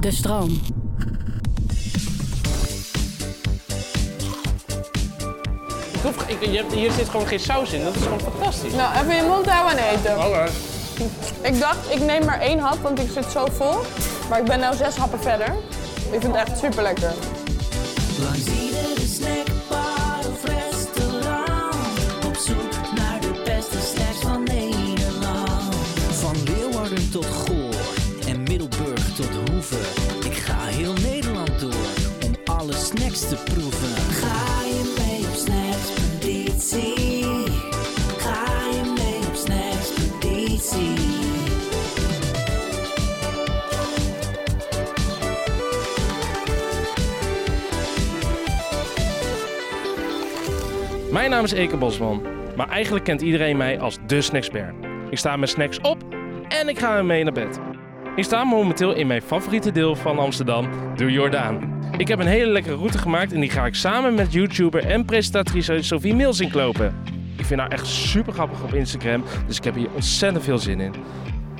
De stroom. Ik hoef- ik- je hebt, hier zit gewoon geen saus in. Dat is gewoon fantastisch. Nou, even je mond houden en eten. Oké. Ik dacht, ik neem maar één hap, want ik zit zo vol. Maar ik ben nou zes happen verder. Ik vind het echt super lekker. Langs iedere snackbar of restaurant. Op zoek naar de beste snacks van Nederland. Van Leeuwarden tot Goor en Middelburg tot Hoeve. Ik ga heel Nederland door om alle snacks te proeven. Ga je mee op snackspeditie? Ga je mee op snackspeditie? Mijn naam is Eke Bosman, maar eigenlijk kent iedereen mij als de snacksper. Ik sta mijn snacks op en ik ga mee naar bed. Ik sta momenteel in mijn favoriete deel van Amsterdam, de Jordaan. Ik heb een hele lekkere route gemaakt en die ga ik samen met YouTuber en presentatrice Sophie Milsink lopen. Ik vind haar echt super grappig op Instagram, dus ik heb hier ontzettend veel zin in.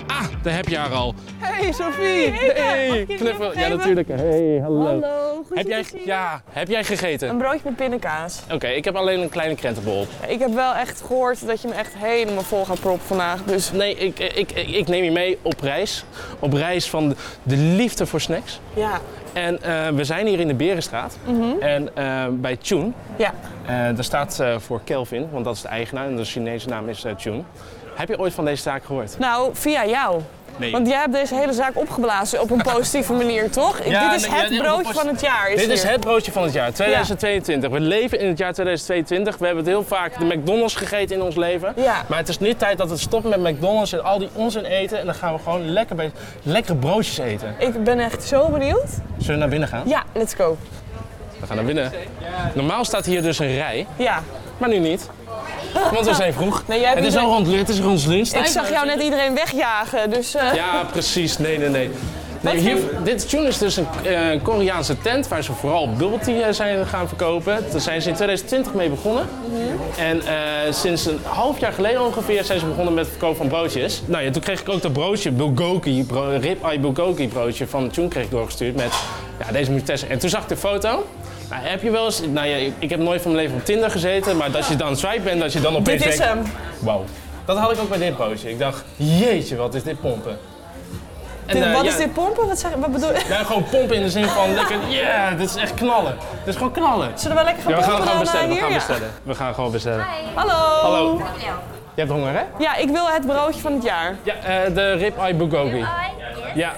Ah, daar heb je haar al. Hey Sophie! Hey! Knuffel. Ja, natuurlijk. Hey, hallo. Hallo, goed Heb jij, ja, heb jij gegeten? Een broodje met pindakaas. Oké, ik heb alleen een kleine krentenbol op. Ik heb wel echt gehoord dat je me echt helemaal vol gaat proppen vandaag. Dus Nee, ik, eh, ik, ik, ik neem je mee op reis. Op reis van de liefde voor snacks. ja, En eh, we zijn hier in de Berenstraat. En eh, bij Tune, ja. eh, daar staat eh, voor Kelvin, want dat is de eigenaar en de Chinese naam is eh, Tune. Heb je ooit van deze zaak gehoord? Nou, via jou. Nee. Want jij hebt deze hele zaak opgeblazen op een positieve manier, toch? Ja, Dit is nee, ja, het dit- broodje van het jaar. Is Dit is hier. het broodje van het jaar, 2022. We leven in het jaar 2022. We hebben het heel vaak de McDonald's gegeten in ons leven. Ja. Maar het is nu tijd dat we stoppen met McDonald's en al die onzin eten. En dan gaan we gewoon lekker bij, lekkere broodjes eten. Ik ben echt zo benieuwd. Zullen we naar binnen gaan? Ja, let's go. We gaan naar binnen. Normaal staat hier dus een rij, Ja. maar nu niet. Want we zijn vroeg. Nee, jij hebt het, is niet- al rond, het is rond lunch. Ik zag jou net iedereen wegjagen, dus... eh, Ja, precies. Nee, nee, nee. Nee, Wat hier, voor- dit tune is dus een eh, Koreaanse tent waar ze vooral bubble tea eh, zijn gaan verkopen. Daar zijn ze in 2020 mee begonnen. Mhm. En eh, sinds een half jaar geleden ongeveer zijn ze begonnen met het verkoop van broodjes. Nou ja, toen kreeg ik ook dat broodje, bulgogi, bro, rib-eye bulgogi broodje van Tune kreeg ik doorgestuurd met ja, deze moet je testen. En toen zag ik de foto. Nou, heb je wel eens, nou ja, ik, ik heb nooit van mijn leven op Tinder gezeten, maar dat je dan swipe bent, dat je dan opeens Dit is denkt, hem. Wauw. Dat had ik ook bij dit broodje. Ik dacht, jeetje, wat is dit pompen? En, Dit- eh, wat ja, is dit pompen? Wat, zeg, wat bedoel je? Ja, gewoon pompen in de zin van lekker, ja, dit is echt knallen. Dit is gewoon knallen. Zullen we lekker gaan Ja, we pompen gaan gewoon dan, bestellen, eh, we hier? gaan Ja. bestellen. We gaan gewoon bestellen. Hallo. Hallo. Je hebt honger, hè? Ja, ik wil het broodje van het jaar. Ja, eh, de rib-eye bulgogi. Ja,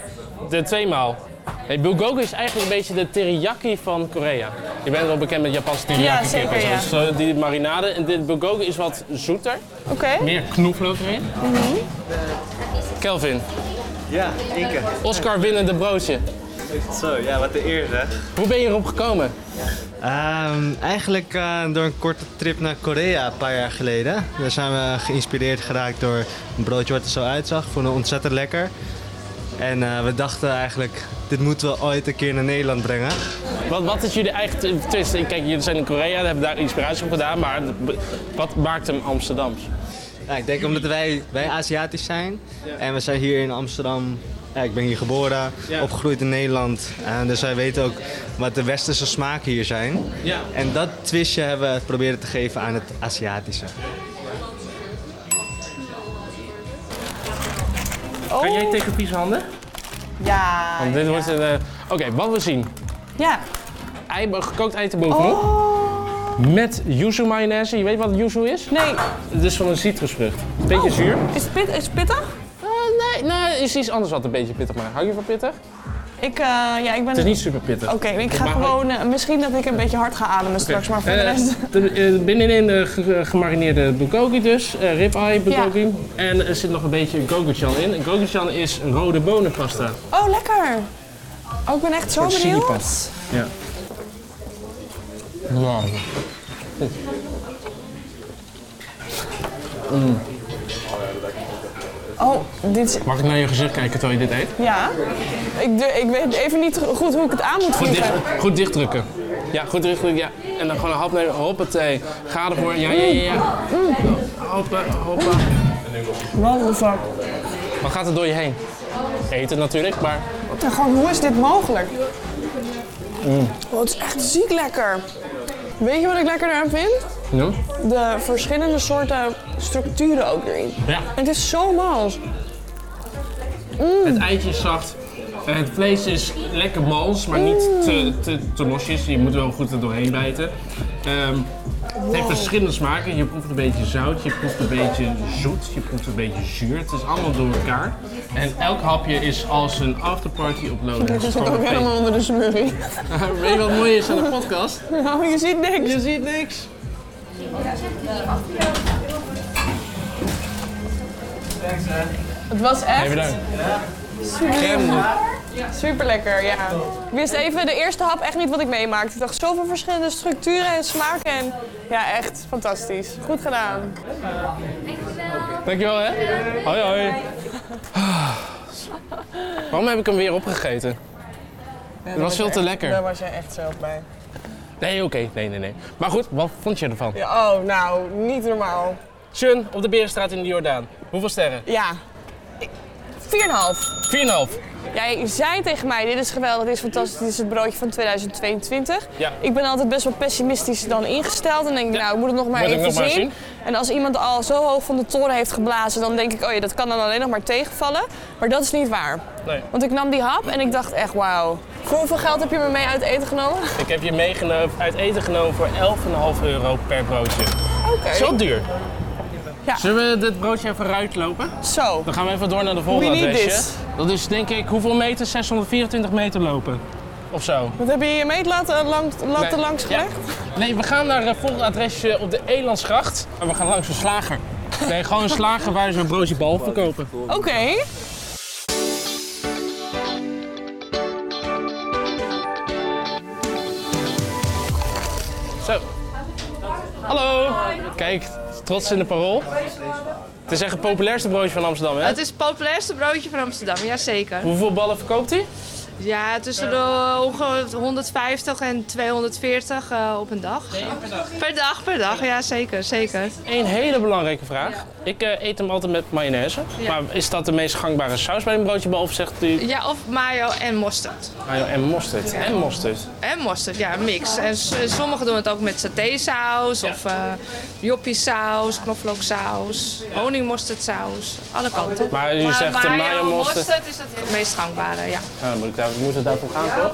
de tweemaal. Hey, bulgogi is eigenlijk een beetje de teriyaki van Korea. Je bent wel bekend met Japanse teriyaki Ja, zeker, kippen. ja. Dus, eh, die marinade. En dit bulgogi is wat zoeter. Oké. Meer knoflook erin. Kelvin, Ja, Inke. Oscar winnende broodje. Zo, ja, wat de eer zeg. Hoe ben je erop gekomen? eigenlijk eh, door een korte trip naar Korea een paar jaar geleden. Daar zijn we geïnspireerd geraakt door een broodje wat er zo uitzag. Vonden we ontzettend lekker. En eh, we dachten eigenlijk, dit moeten we ooit een keer naar Nederland brengen. Wat, wat is jullie eigen... Tenminste, kijk, jullie zijn in Korea, hebben daar inspiratie op gedaan, maar wat maakt hem Amsterdams? Ja, Nou, ik denk omdat wij, wij Aziatisch zijn. En we zijn hier in Amsterdam. Ja, ik ben hier geboren, opgegroeid in Nederland. En dus wij weten ook wat de westerse smaken hier zijn. Ja. En dat twistje hebben we proberen te geven aan het Aziatische. Kan jij tegen vieze handen? Ja. Want dit wordt een... eh, Oké, wat we zien. Ja. Oh. Ei, gekookt ei te bovenop. Met yuzu mayonaise. Je weet wat yuzu is? Nee, Het is van een citrusvrucht. Beetje Oh. zuur. is het, pit, is het pittig? Eh, nee, nee, is iets anders wat een beetje pittig maakt. Hou je van pittig? Ik, eh, ja, ik ben... Het is niet super pittig. Oké, ik ga Maar- gewoon... eh, misschien dat ik een beetje hard ga ademen straks, maar voor de Eh, rest... de- eh, binnenin de ge- eh, gemarineerde bulgogi dus, eh ribeye bulgogi. En er zit nog een beetje gochujang in. Gochujang is een rode bonenpasta. Oh, lekker. Oh, ik ben echt zo Een soort benieuwd. chilipad. Ja. Wow. Oh, dit is... Mag ik naar je gezicht kijken terwijl je dit eet? Ja. Ik, du- ik weet even niet goed hoe ik het aan moet Goed, dicht, vliegen. goed dichtdrukken. Ja, goed dichtdrukken. Ja. En dan gewoon een hap nemen. Hoppatee. Ga ervoor. Ja, ja, ja. ja. Hoppa, hoppa. Wat de fuck. Wat gaat er door je heen? Eten natuurlijk, maar En gewoon, hoe is dit mogelijk? Mm. Oh, het is echt ziek lekker. Weet je wat ik lekker eraan vind? Ja? De verschillende soorten structuren ook erin. Ja. Het is zo mals. Het eitje is zacht. En het vlees is lekker mals, maar niet te, te, te losjes. Je moet wel goed er doorheen bijten. Ehm, Het heeft verschillende smaken. Je proeft een beetje zout, je proeft een beetje zoet, je proeft een beetje zuur. Het is allemaal door elkaar. En elk hapje is als een afterparty op Lowlands. Ik zit Gewoon ook een feest. helemaal onder de smurrie. Weet je wat mooi is aan de podcast? Nou, je ziet niks. Je ziet niks. Het was echt En super lekker, ja. Ik wist even de eerste hap echt niet wat ik meemaakte. Ik dacht zoveel verschillende structuren en smaken. En ja, echt fantastisch. Goed gedaan. Dankjewel, hè? Hoi, hoi. Ah. Waarom heb ik hem weer opgegeten? Het was veel te lekker. Daar was jij echt zelf bij. Nee, oké. Nee, nee, nee. Maar goed, wat vond je ervan? Ja, oh, nou, niet normaal. Sun op de Berenstraat in de Jordaan. Hoeveel sterren? Ja. Ik- 4,5. 4,5. Jij zei tegen mij, dit is geweldig, dit is fantastisch, dit is het broodje van 2022. Ja. Ik ben altijd best wel pessimistisch dan ingesteld en denk, nou, ik moet het nog maar Moet ik even nog maar zien. zien. En als iemand al zo hoog van de toren heeft geblazen, dan denk ik, oh ja, dat kan dan alleen nog maar tegenvallen. Maar dat is niet waar. Nee. Want ik nam die hap en ik dacht echt, wauw. Voor hoeveel geld heb je me mee uit eten genomen? Ik heb je meegenomen, uit eten genomen voor 11,5 euro per broodje. Oké. Zo duur. Ja. Zullen we dit broodje even eruit lopen? Dus Zo. Dan gaan we even door naar de volgende We need adresje. this. Dat is denk ik hoeveel meter? 624 meter lopen. Of zo. Wat heb je je meet laten, eh, lang, laten Nee. langs gelegd? Ja. Nee, we gaan naar het volgende adresje op de Elandsgracht. En we gaan langs een slager. Nee, gewoon een slager waar ze een broodje bal verkopen. Oké. Zo. Hallo. Kijk, trots in de parool. Het is echt het populairste broodje van Amsterdam, hè? Het is het populairste broodje van Amsterdam, jazeker. Hoeveel ballen verkoopt hij? Ja, tussen de eh, ongeveer 150 en 240 eh, op een dag. per dag? Per dag, per dag, ja zeker, zeker. Eén hele belangrijke vraag. Ik eh, eet hem altijd met mayonaise. Ja. Maar is dat de meest gangbare saus bij een broodje bal? Of zegt u Ja, of mayo en mosterd. mayo en mosterd? En mosterd. En mosterd, ja, mix. En s- en sommigen doen het ook met satésaus of eh joppiesaus, knoflooksaus, honingmosterdsaus, alle kanten. Maar u zegt de mayo mosterd. is het meest gangbare, ja. Nou, dan moet ik daar, moet het daarvoor gaan, toch?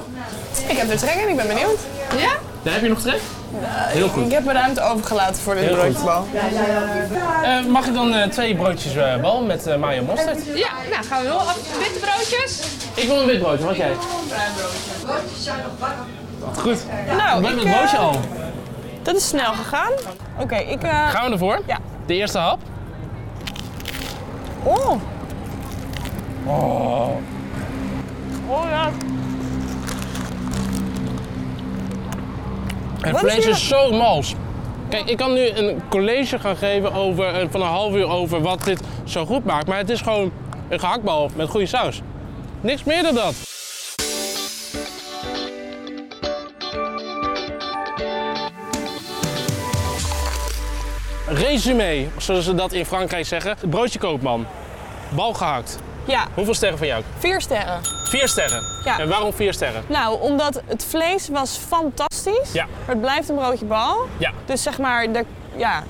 Ik heb de trek in, ik ben benieuwd. Ja? Daar heb je nog trek? Heel goed. Ik heb me ruimte overgelaten voor dit Heel broodje. goed. bal. Eh, mag ik dan eh, twee broodjes eh, bal met eh, mayo en mosterd? Ja, nou gaan we door. Af- Witte broodjes? Ik wil een wit broodje, wat jij? Bruin broodje. Wat goed. Nou, We ik, hebben het eh, broodje al. dat is snel gegaan. Oké, ik... eh, Gaan we ervoor? Ja. De eerste hap. Oh. Oh. Oh ja. Het Wat is vlees is, hier- zo mals. Kijk, ik kan nu een college gaan geven over, eh, van een half uur over wat dit zo goed maakt. Maar het is gewoon een gehaktbal met goede saus. Niks meer dan dat. Resume, zoals ze dat in Frankrijk zeggen. Broodje koopman. Bal gehakt. Ja, Hoeveel sterren van jou? vier sterren. Vier sterren. Ja. En waarom vier sterren? Nou, omdat het vlees was fantastisch. Ja. Maar het blijft een broodje bal. Ja. Dus zeg maar, de, ja,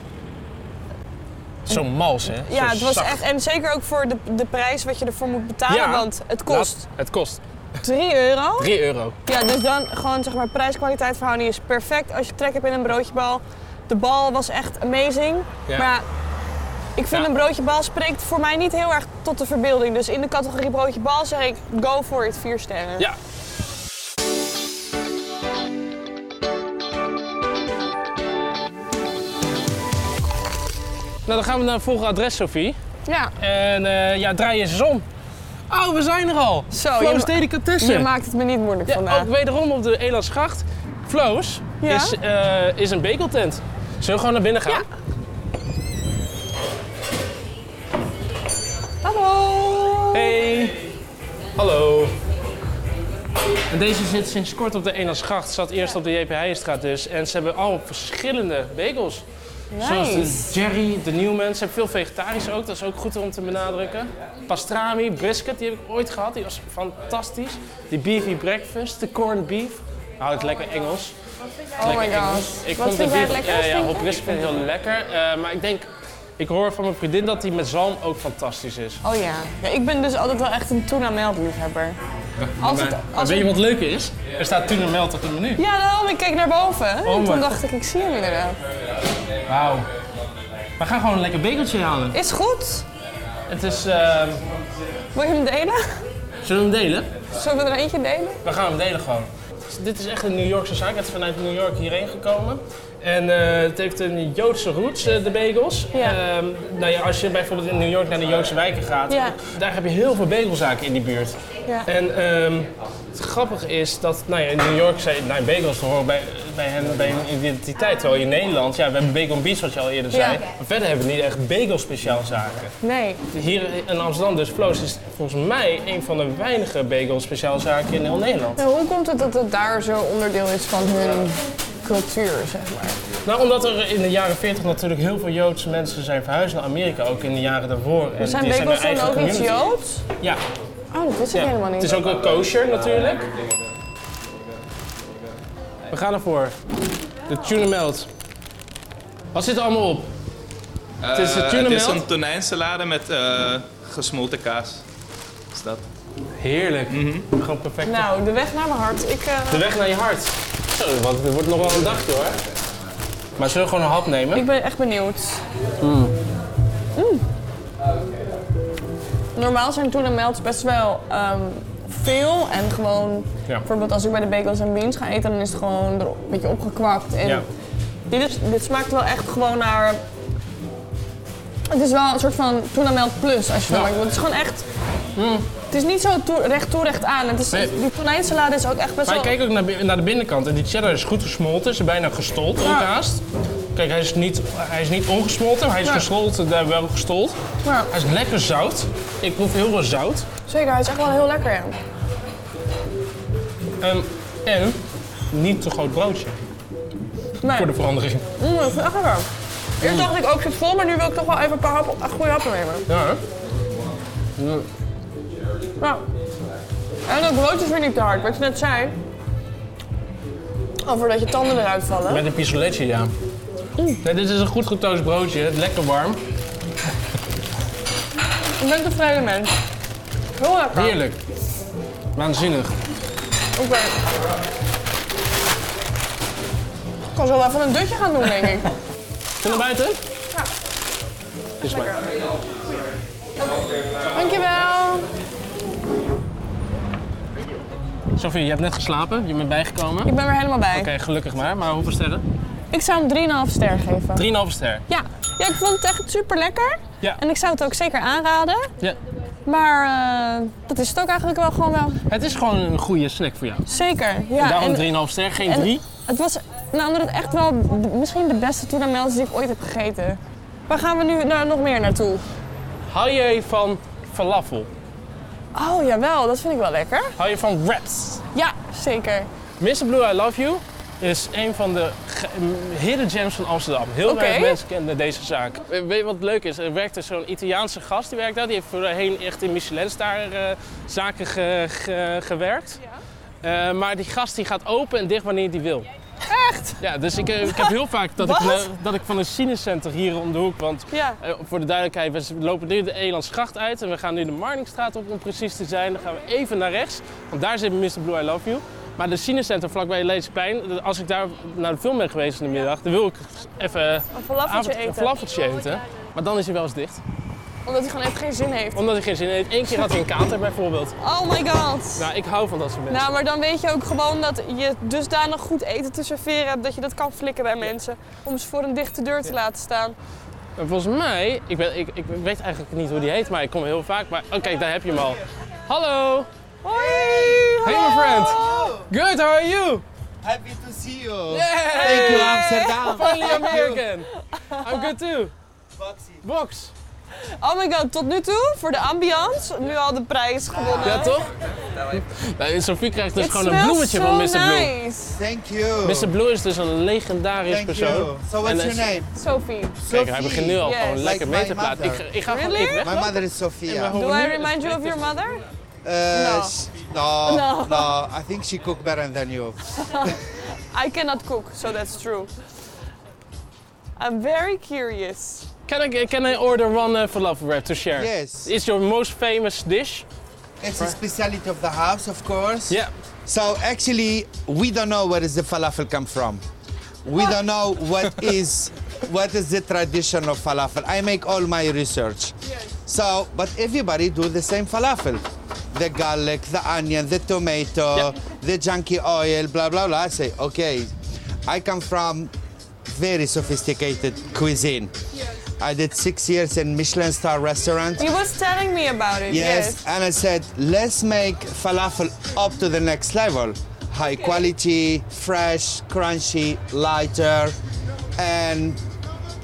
Zo mals, hè? Zo ja het was zak. echt... En zeker ook voor de, de prijs wat je ervoor moet betalen. Ja. Want het kost Het kost 3 euro. 3 euro. Ja, dus dan gewoon zeg maar prijs-kwaliteit verhouding is perfect. Als je trek hebt in een broodjebal. De bal was echt amazing. Ja. Maar ja, ik vind Ja. een broodjebal spreekt voor mij niet heel erg tot de verbeelding. Dus in de categorie broodjebal zeg ik go for it, vier sterren. Ja. Nou, dan gaan we naar het volgende adres, Sophie. Ja, En eh, ja, draai eens eens om. Oh, we zijn er al. Zo, je ma- Floos je Delicatessen. maakt het me niet moeilijk Ja, vandaag. ook wederom op de Elandsgracht. Floos Ja? is, eh, is een bageltent. Zullen we gewoon naar binnen gaan? Hallo! Hey. Hallo. En deze zit sinds kort op de Elandsgracht. Zat eerst op de JP Heijenstraat dus. En ze hebben al verschillende bagels. Zoals Nice. de Jerry, de Newmans. Ze hebben veel vegetarisch ook. Dat is ook goed om te benadrukken. Pastrami, brisket, die heb ik ooit gehad. Die was fantastisch. Die beefy breakfast, de corned beef. Hou het lekker Engels. Oh my god. Engels. Ik Wat vond de vind jij het beef, lekkerst? eh, ja, vind op je? brisket vind ik heel lekker. Eh, maar ik denk, ik hoor van mijn vriendin dat die met zalm ook fantastisch is. Oh ja. Ja, Ik ben dus altijd wel echt een tuna melt liefhebber. Als het, als het- wat leuk is? Er staat tuna melt op het menu. Ja, daarom. Ik keek naar boven. Oh en toen my- dacht ik, ik zie hem inderdaad. Wauw. We gaan gewoon een lekker bekertje halen. Is goed. Het is, ehm, Wil je hem delen? zullen we hem delen? Zullen we er eentje delen? We gaan hem delen gewoon. Dus Dit is echt een New Yorkse zaak. Het is vanuit New York hierheen gekomen. En eh, het heeft een Joodse roots, eh, de bagels. Ja. Ehm, nou ja, als je bijvoorbeeld in New York naar de Joodse wijken gaat, Ja. daar heb je heel veel bagelzaken in die buurt. Ja. En ehm, het grappige is dat nou ja, in New York zei, nou, bagels horen bij, bij, hen, bij hun identiteit. Terwijl in Nederland, ja, we hebben Bagel Beach, wat je al eerder zei. Ja. Maar verder hebben we niet echt bagel speciaal zaken. Nee. Hier in Amsterdam, dus Flo's, is volgens mij een van de weinige bagel speciaalzaken in heel Nederland. Nou, hoe komt het dat het daar zo onderdeel is van hun cultuur, zeg maar? Nou, omdat er in de jaren 40 natuurlijk heel veel Joodse mensen zijn verhuisd naar Amerika, ook in de jaren daarvoor. En Zijn die hun bagels dan eigen ook iets community. Joods? Ja, Oh, dat wist ik ja. helemaal niet. Het is ook een kosher natuurlijk. We gaan ervoor. De tuna melt. Wat zit er allemaal op? het is de Eh, tuna het is melt. een tonijnsalade met eh, gesmolten kaas. Is dat? Heerlijk. Mhm. Gewoon perfect. Nou, de weg naar mijn hart. Ik, eh, De weg naar je hart. Zo, want het wordt nog wel een dagje hoor. Maar zullen we gewoon een hap nemen? ik ben echt benieuwd. Hmm. Mm. Normaal zijn tuna melts best wel ehm, veel. En gewoon, Ja. bijvoorbeeld als ik bij de bagels en beans ga eten, dan is het gewoon er een beetje opgekwakt. En Ja. dit, is, dus, dit smaakt wel echt gewoon naar... Het is wel een soort van tuna melt plus, als je dat Ja. Hmm. wil. Het is gewoon echt... Het is niet zo toe- recht toe, recht aan. Het is, Nee. Die tonijnsalade is ook echt best Maar wel... ik kijk ook naar, bi- naar de binnenkant en die cheddar is goed gesmolten, is bijna gestold ook Ja. haast. Kijk, hij is niet, hij is niet ongesmolten, maar hij is Ja. gesmolten, daar wel gestold. Ja. Hij is lekker zout. Ik proef heel veel zout. Zeker, hij is echt wel heel lekker, ja. Ehm, en niet te groot broodje Nee. voor de Mm. verandering. Mm, dat is echt lekker. Eerst dacht ik ook zit vol, maar nu wil ik toch wel even een paar happen, echt goede happen nemen. Ja, hè? Nou. En dat brood is weer niet te hard, wat je net zei. Over dat je tanden eruit vallen. met een pisoletje, ja. Nee, dit is een goed getoast broodje, het is lekker warm. Ik ben tevreden mens. Heel lekker. Heerlijk. Waanzinnig. Oké. Ik kan zo wel even een dutje gaan doen, denk ik. Kunnen we buiten? Ja. Is maar. Dankjewel. Sophie, je hebt net geslapen, je bent bijgekomen. Oké, Ik ben weer helemaal bij. gelukkig maar. Maar hoeveel sterren? Ik zou hem 3,5 ster geven. 3,5 ster. Ja. ja, ik vond het echt super lekker. Ja. En ik zou het ook zeker aanraden. ja. Maar eh, dat is het ook eigenlijk wel gewoon wel. Het is gewoon een goede snack voor jou. Zeker. Ja, Daarom en- 3,5 ster, geen en 3. Het was nou, omdat het echt wel de- misschien de beste tuna melts die ik ooit heb gegeten. Waar gaan we nu nou, nog meer naartoe? Hou je van falafel? Oh jawel, dat vind ik wel lekker. Hou je van wraps? Ja, zeker. Mr. Blue, I Love You is een van de ge- m- hidden gems van Amsterdam. Heel Oké. weinig mensen kennen deze zaak. Eh, Weet je wat leuk is? Er werkt er zo'n Italiaanse gast, die werkt daar. Die heeft voorheen echt in Michelinster eh zaken ge- ge- gewerkt. Eh, maar die gast die gaat open en dicht wanneer hij wil. Echt? Ja, dus ik, eh, ik heb heel vaak dat ik, Wat? eh, dat ik van een cinecenter hier om de hoek, want Ja. Eh, voor de duidelijkheid, we lopen nu de Elandsgracht uit en we gaan nu de Marnixstraat op om precies te zijn. Dan gaan we even naar rechts, want daar zit Mr. Blue I Love You. Maar de Cinecenter vlakbij Leedsplein, de- als ik daar naar de film ben geweest in de middag, dan wil ik even Een falafeltje avond- een eten. Oh, falafeltje eten. Maar dan is hij wel eens dicht. Omdat hij gewoon echt geen zin heeft. Omdat hij geen zin in heeft. Eén keer had hij een kater bijvoorbeeld. Oh my god. Nou, ik hou van dat soort mensen. Nou, maar dan weet je ook gewoon dat je dusdanig goed eten te serveren hebt dat je dat kan flikken bij mensen. Om ze voor een dichte deur te laten staan. Nou. En volgens mij, ik, ben, ik, ik weet eigenlijk niet hoe die heet, maar ik kom heel vaak. Maar, oh kijk, daar heb je hem al. Hallo! Hoi! Hey my friend! Good, how are you? Happy to see you. Hey! Amsterdam. Finally American. I'm good too. Box. Oh my god, tot nu toe, voor de ambiance, nu al de prijs gewonnen. Ja, toch? Nou, Sophie krijgt dus It gewoon een smells bloemetje van Mr. so Blue. nice. Thank you. Mr. Blue is dus een legendarisch Thank persoon. you. So what's En your hij- name? Sophie, Kijk, hij begint nu al Yes. gewoon lekker Like mee te my praten. Ik, mother. ga- ik ga gewoon Really? even My weg. mother is Sofia. do I remind you of your mother? Uh, No. sh- no. No. oh, no, I think she cooked better than you. I cannot cook, so that's true. I'm very curious. Can I, can I order one uh, falafel wrap to share? Yes. Is your most famous dish? It's a speciality of the house, of course. Yeah. So actually, we don't know where is the falafel come from. We don't know what is what is the tradition of falafel. I make all my research. So, but everybody do the same falafel. The garlic, the onion, the tomato, the junky oil, blah blah blah. I say, okay, I come from very sophisticated cuisine. I did six years in Michelin star restaurant. You was telling me about it. Yes, and I said, let's make falafel up to the next level. High quality, fresh, crunchy, lighter, and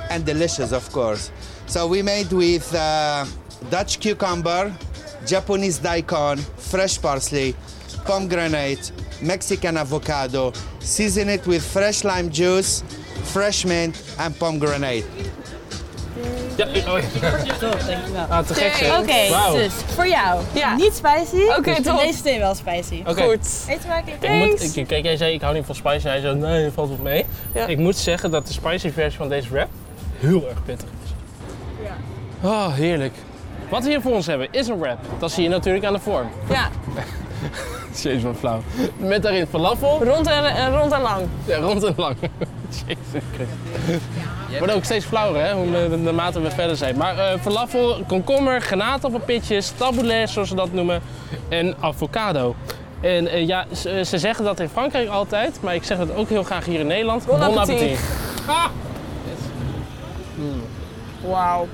and delicious, of course. So we made with uh, Dutch cucumber, Japanese daikon, fresh parsley, pomegranate, Mexican avocado. Season it with fresh lime juice, fresh mint, and pomegranate. Ja, ik- oh, ah, te gek zeg. Oké, Wauw. voor jou. Ja. Niet spicy. Dus Oké, top. Deze thee wel spicy. Oké. Goed. Eet smakelijk. Ik moet, Thanks. ik- kijk, jij zei ik hou niet van spicy en hij zei nee, dat valt wel mee. Ja. Ik moet zeggen dat de spicy versie van deze wrap heel erg pittig is. Oh, heerlijk. Wat we hier voor ons hebben is een wrap. Dat zie je natuurlijk aan de vorm. Ja, Jezus, wat flauw. Met daarin falafel, rond en, en rond en lang. ja, rond en lang. Jezus Christus. Wordt ook steeds flauwer, hè, hoe de, de mate we verder zijn. Maar eh, falafel, komkommer, granaatappelpitjes, tabouleh, zoals ze dat noemen, en avocado. En eh, ja, ze, ze zeggen dat in Frankrijk altijd, maar ik zeg het ook heel graag hier in Nederland. Bon appétit. Ah! Wauw.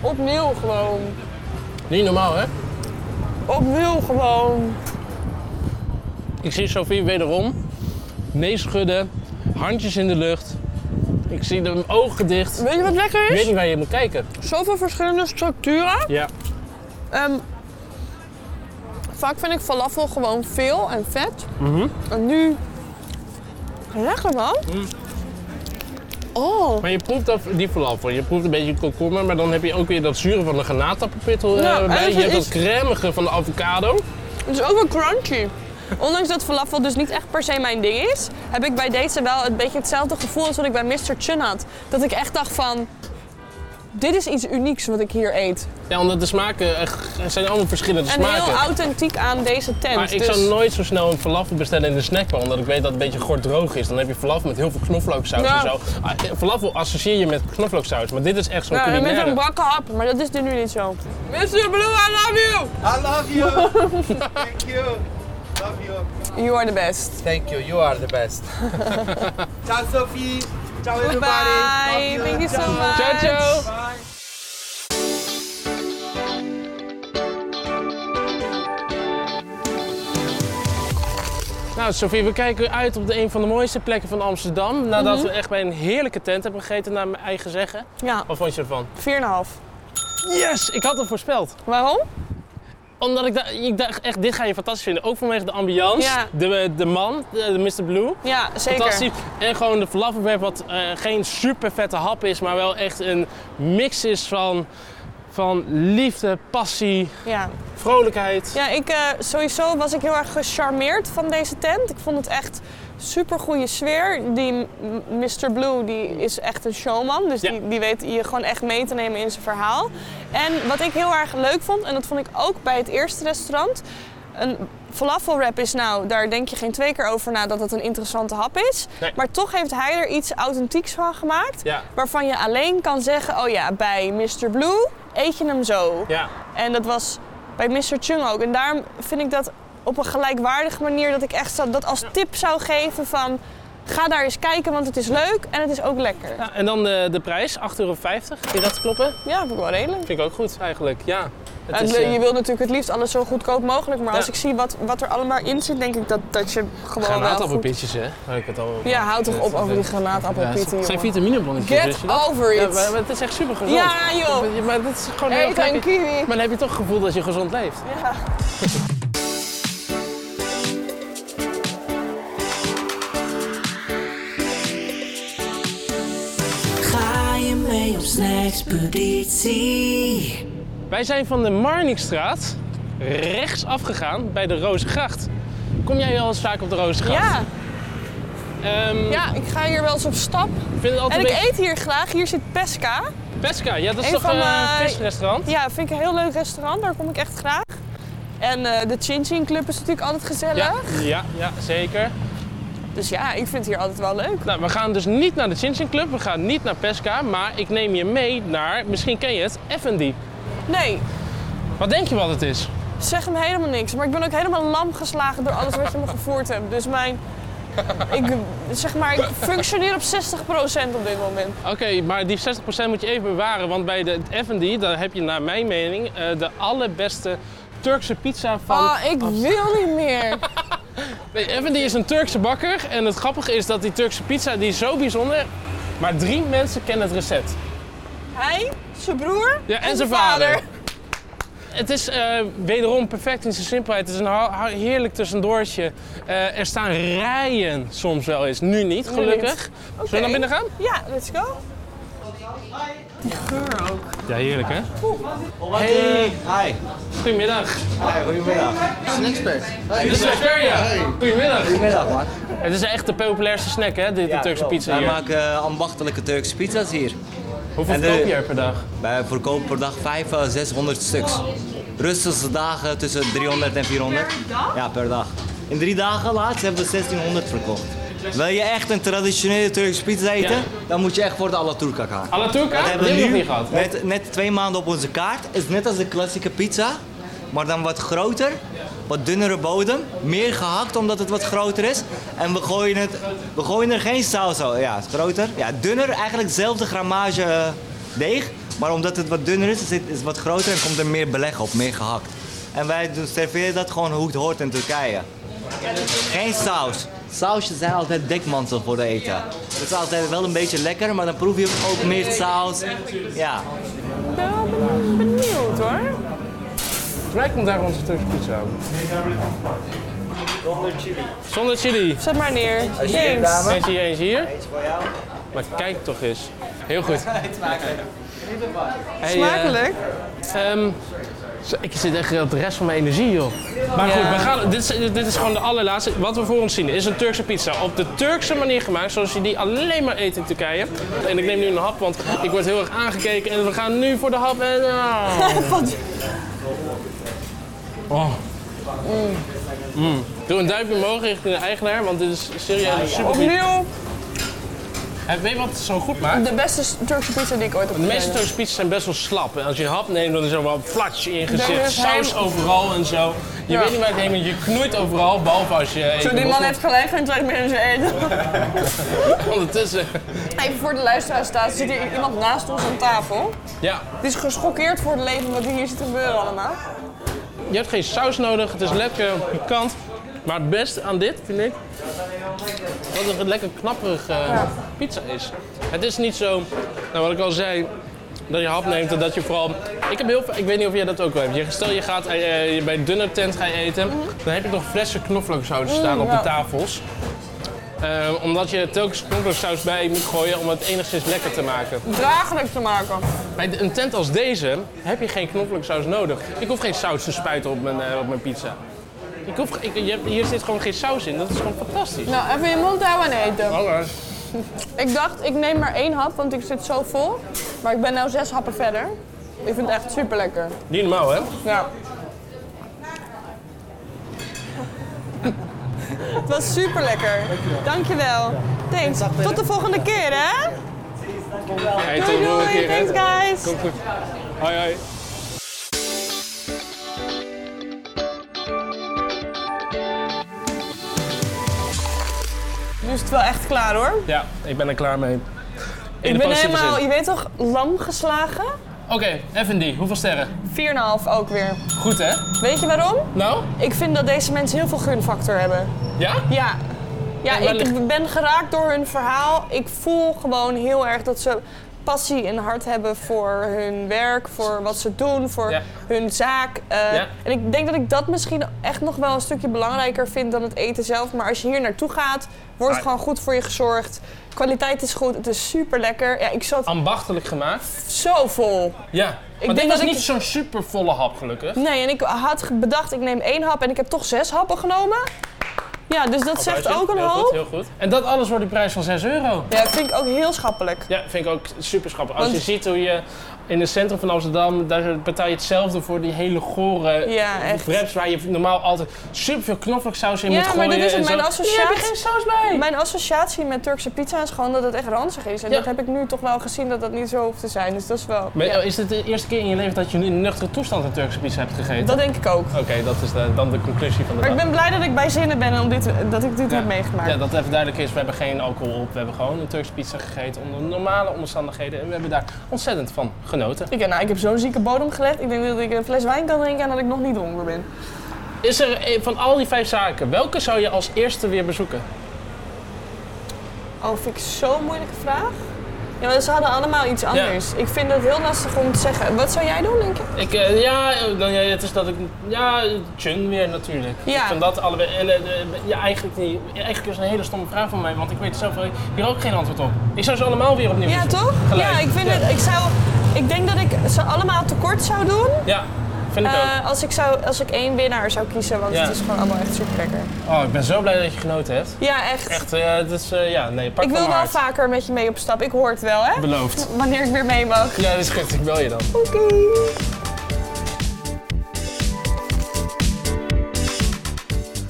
Opnieuw gewoon. Niet normaal, hè? Opnieuw gewoon. Ik zie Sophie wederom. Neeschudden, handjes in de lucht. Ik zie hem ogen gedicht. Weet je wat lekker Ik weet is? niet waar je moet kijken. Zoveel verschillende structuren. Ja. Ehm, vaak vind ik falafel gewoon veel en vet. Mhm. En nu... Lekker man. Oh. Maar je proeft dat, die falafel. Je proeft een beetje komkommer, maar dan heb je ook weer dat zure van de granaatappelpittel eh, Ja, en bij. het Je hebt dat Nou, is- cremige van de avocado. Het is ook wel crunchy. Ondanks dat falafel dus niet echt per se mijn ding is, heb ik bij deze wel een beetje hetzelfde gevoel als wat ik bij Mr. Chun had. Dat ik echt dacht van, dit is iets unieks wat ik hier eet. Ja, omdat de smaken eh, g- zijn allemaal verschillende En smaken. heel authentiek aan deze tent. maar ik dus- zou nooit zo snel een falafel bestellen in de snackbar, omdat ik weet dat het een beetje gordroog is. Dan heb je falafel met heel veel knoflooksaus Ja. en zo. Ah, eh, Falafel associeer je met knoflooksaus, maar dit is echt zo'n Ja, en met culinaire. een bakken hap, maar dat is dit nu niet zo. Mr. Blue, I love you! I love you. Thank you. Love you. You are the best. Thank you. You are the best. Ciao, Sophie. Ciao, everybody. Bye, thank you so much. Ciao, ciao. Nou, Sofie, we kijken uit op de een van de mooiste plekken van Amsterdam. Nadat Mhm. we echt bij een heerlijke tent hebben gegeten, naar mijn eigen zeggen. Ja, Wat vond je ervan? 4,5. Yes, ik had het voorspeld. Waarom? Omdat ik, da- ik dacht, echt, dit ga je fantastisch vinden. Ook vanwege de ambiance, Ja. de, de man, eh, de, de Mr. Blue. Ja, zeker. Fantastisch. En gewoon de falafelweb, wat eh, geen super vette hap is, maar wel echt een mix is van, van liefde, passie, Ja. vrolijkheid. Ja, ik, eh, sowieso was ik heel erg gecharmeerd van deze tent. Ik vond het echt super goede sfeer. Die m- Mr. Blue die is echt een showman. Dus Ja. die, die weet je gewoon echt mee te nemen in zijn verhaal. En wat ik heel erg leuk vond, en dat vond ik ook bij het eerste restaurant. Een falafelwrap is nou, daar denk je geen twee keer over na dat het een interessante hap is. Nee. Maar toch heeft hij er iets authentieks van gemaakt. Ja. Waarvan je alleen kan zeggen, oh ja, bij Mr. Blue eet je hem zo. Ja. En dat was bij Mr. Chung ook. En daarom vind ik dat op een gelijkwaardige manier dat ik echt zo- dat als tip zou geven van ga daar eens kijken, want het is leuk en het is ook lekker. Ja, Ja, en dan de, de prijs, 8,50 euro. Vind je dat kloppen? vind ik wel redelijk. Vind ik ook goed eigenlijk, ja. En is, le- eh, je wilt natuurlijk het liefst alles zo goedkoop mogelijk, maar Ja. als ik zie wat, wat er allemaal in zit, denk ik dat, dat je gewoon wel goed... Granaatappelpitjes, hè? Waar ik het al Ja, houd toch op over die granaatappelpitten, het zijn jongen. vitamineblonnetjes, wist Get je dat? over Ja, it! maar, maar het is echt super gezond. Ja, joh. Maar dat is gewoon heel Eet een lekker. kiwi! Maar dan heb je toch het gevoel dat je gezond leeft. Ja. Ga je mee op snackspeditie? Wij zijn van de Marnixstraat rechts afgegaan bij de Rozengracht. Kom jij wel eens vaak op de Rozengracht? ja, Ehm, ja, ik ga hier wel eens op stap. Ik vind het altijd En ik een beetje... eet hier graag. Hier zit Pesca. Pesca, ja, dat is een toch van een mijn- visrestaurant? Ja, vind ik een heel leuk restaurant. Daar kom ik echt graag. En eh, de Chin Chin Club is natuurlijk altijd gezellig. Ja, ja, ja, zeker. Dus ja, ik vind het hier altijd wel leuk. Nou, we gaan dus niet naar de Chin Chin Club, we gaan niet naar Pesca, maar ik neem je mee naar, misschien ken je het, F&D. Nee, Wat denk je wat het is? zeg hem helemaal niks. Maar ik ben ook helemaal lam geslagen door alles wat je me gevoerd hebt. Dus mijn... Ik, zeg maar, ik functioneer op 60% op dit moment. Oké, maar die 60% moet je even bewaren, want bij de F&D, daar heb je naar mijn mening eh, de allerbeste Turkse pizza van... Oh, ik wil niet meer. Nee, F&D is een Turkse bakker en het grappige is dat die Turkse pizza, die is zo bijzonder, maar drie mensen kennen het recept. Hij, zijn broer Ja, en, zijn vader. Het is eh, wederom perfect in zijn simpelheid. Het is een ha- ha- heerlijk tussendoortje. Eh, er staan rijen soms wel eens. Nu niet, gelukkig. Zullen we naar binnen gaan? Ja, let's go. Ja, heerlijk hè? Hey. Hi. Goedemiddag. Hi, goedemiddag. Dit is Victoria. Goedemiddag. Goedemiddag, man. Het is echt de populairste snack hè, de, de Turkse pizza Wij hier. maken eh, ambachtelijke Turkse pizza's hier. Hoeveel en de- verkoop je er per dag? Wij verkopen per dag 500 à 600 stuks. Rustigste dagen tussen 300 en 400. Ja, per dag. In drie dagen laatst hebben we 1600 verkocht. Wil je echt een traditionele Turkse pizza eten? Ja. Dan moet je echt voor de Alaturka gaan. Alaturka? Dat Die hebben we hebben we nog nu niet gehad. net, net twee maanden op onze kaart. Is net als de klassieke pizza, maar dan wat groter, wat dunnere bodem, meer gehakt omdat het wat groter is. En we gooien, het, we gooien er geen saus over. Ja, het is groter. Ja, dunner, eigenlijk dezelfde grammage eh, deeg, maar omdat het wat dunner is, is het is het wat groter en komt er meer beleg op, meer gehakt. En wij doen- serveren dat gewoon hoe het hoort in Turkije. Geen saus. Sausjes zijn altijd dekmantel voor de eten. Het is altijd wel een beetje lekker, maar dan proef je ook meer saus. Ja. Ik ben wel ben- benieuwd hoor. Volgens mij komt daar onze Turkse pizza over. Zonder chili. Zet maar neer. James. Eentje hier, eentje hier. Maar kijk toch eens. Heel goed. Hey, eh, Smakelijk. Ehm, zo, ik zit echt op de rest van mijn energie, joh. Maar goed, we gaan, dit, is, dit is gewoon de allerlaatste. Wat we voor ons zien is een Turkse pizza. Op de Turkse manier gemaakt, zoals je die alleen maar eet in Turkije. En ik neem nu een hap, want ik word heel erg aangekeken. En we gaan nu voor de hap. En, ah. Oh. Mm. Doe een duimpje omhoog richting de eigenaar, want dit is serieus super Opnieuw Weet je wat het zo goed maakt? de beste Turkse pizza die ik ooit heb De meeste gegeten. Turkse pizza's zijn best wel slap. En als je een hap neemt, dan is er wel flats in je Er gezicht. is Saus helemaal- overal en zo. Je Ja. weet niet waar het heen moet. Je knoeit overal, behalve als je... Zo, eet. die man heeft gelijk geen trek meer in zijn eten. Ondertussen. Even voor de luisteraars staat, zit hier iemand naast ons aan tafel. Ja. Die is geschokkeerd voor het leven wat hier zit te gebeuren allemaal. Je hebt geen saus nodig. Het is lekker pikant. Maar het beste aan dit, vind ik... Dat het een lekker knapperig eh, pizza is. Het is niet zo... Nou, wat ik al zei... Dat je hap neemt en dat je vooral... Ik, heb heel, veel- ik weet niet of jij dat ook wel hebt. Je, stel je gaat eh, eh, bij een dunner tent gaan eten. Dan heb je nog flessen knoflooksaus staan op ja. de tafels. Eh, omdat je telkens knoflooksaus bij moet gooien om het enigszins lekker te maken. Draaglijk te maken. Bij de- een tent als deze heb je geen knoflooksaus nodig. Ik hoef geen saus te spuiten op mijn, eh, op mijn pizza. Ik hoef, ge- ik, je hebt- hier zit gewoon geen saus in. Dat is gewoon fantastisch. Nou, even je mond houden en eten. Hallo. Ik dacht, ik neem maar één hap, want ik zit zo vol. Maar ik ben nu zes happen verder. Ik vind het echt super lekker. Niet normaal, hè? Ja. Het was super lekker. Dankjewel. Thanks. Tot de volgende keer, hè? Hey, Doei, doei. hè? Thanks, guys. Komt goed. Hoi, hoi. Nu is het wel echt klaar, hoor. Ja, ik ben er klaar mee. In Ik de ben positieve helemaal, zin. je weet toch, lam geslagen? Oké, F&D, hoeveel sterren? 4,5 ook weer. Goed hè? Weet je waarom? Nou? Ik vind dat deze mensen heel veel gunfactor hebben. Ja? Ja. Ja, En waar ik ligt- ben geraakt door hun verhaal. Ik voel gewoon heel erg dat ze passie en hart hebben voor hun werk, voor wat ze doen, voor Ja. hun zaak. Eh, Ja. En ik denk dat ik dat misschien echt nog wel een stukje belangrijker vind dan het eten zelf. Maar als je hier naartoe gaat, wordt Ah. gewoon goed voor je gezorgd. Kwaliteit is goed, het is super lekker. Ja, ik zat Ah. Ambachtelijk gemaakt. zo vol. Ja. Maar denk dit was dat ik- niet zo'n supervolle hap gelukkig. Nee, en ik had ge- bedacht, ik neem één hap en ik heb toch zes happen genomen. Ja, dus dat zegt ook een heel Goed, hoop. heel goed. En dat alles voor die prijs van 6 euro. Ja, vind ik ook heel schappelijk. Ja, vind ik ook super schappelijk. Als Want- je ziet hoe je in het centrum van Amsterdam, daar betaal je hetzelfde voor die hele gore Ja, echt. wraps waar je normaal altijd super veel knoflooksaus in moet Ja, gooien. maar dit is en het. Mijn zo. associatie. Hier heb je geen saus bij. Mijn associatie met Turkse pizza is gewoon dat het echt ranzig is. En Ja. dat heb ik nu toch wel gezien dat dat niet zo hoeft te zijn. Dus dat is wel. Maar, ja. oh, Is het de eerste keer in je leven dat je in een nuchtere toestand een Turkse pizza hebt gegeten? Dat denk ik ook. Oké, dat is de- dan de conclusie van de Maar ik dag. ben blij dat ik bij zinnen ben om dit, dat ik dit Ja. heb meegemaakt. Ja, dat even duidelijk is, we hebben geen alcohol op. We hebben gewoon een Turkse pizza gegeten onder normale omstandigheden. En we hebben daar ontzettend van genoten. Ik, nou, ik heb zo'n zieke bodem gelegd. Ik denk dat ik een fles wijn kan drinken en dat ik nog niet honger ben. Is er eh, van al die vijf zaken, welke zou je als eerste weer bezoeken? Oh, vind ik zo'n moeilijke vraag. Ja, maar ze hadden allemaal iets anders. Ik vind het heel lastig om te zeggen. Wat zou jij doen, denk je? Ik, eh, ja, eh, dan, ja, het is dat ik... Ja, Chun weer natuurlijk. Ja. Ik vind dat allebei... En, eh, eh, ja, eigenlijk niet. Eigenlijk is het een hele stomme vraag van mij, want ik weet zelf wel hier ook geen antwoord op. Ik zou ze allemaal weer opnieuw Ja, bezoeken. toch? Gelijk. Ja, ik vind het. Ik zou. Ik denk dat ik ze allemaal tekort zou doen. Ja, vind ik eh, als, ik zou, als ik één winnaar zou kiezen, want Ja. het is gewoon allemaal echt super lekker. ook. Oh, ik ben zo blij dat je genoten hebt. Ja, echt. Echt, eh, het is... eh, ja, nee, pak ik van mijn wil wel hart. vaker met je mee op stap. Ik hoor het wel, hè? Beloofd. Wanneer ik weer mee mag. Ja, dat is goed. Ik bel je dan. Oké.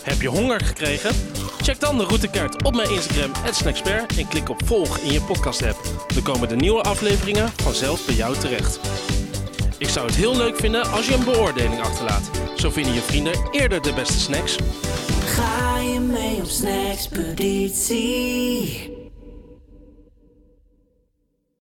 Heb je honger gekregen? Check dan de routekaart op mijn Instagram, Snacksper, en klik op volg in je podcast app. Dan komen de nieuwe afleveringen vanzelf bij jou terecht. Ik zou het heel leuk vinden als je een beoordeling achterlaat. Zo vinden je vrienden eerder de beste snacks. Ga je mee op snackspeditie?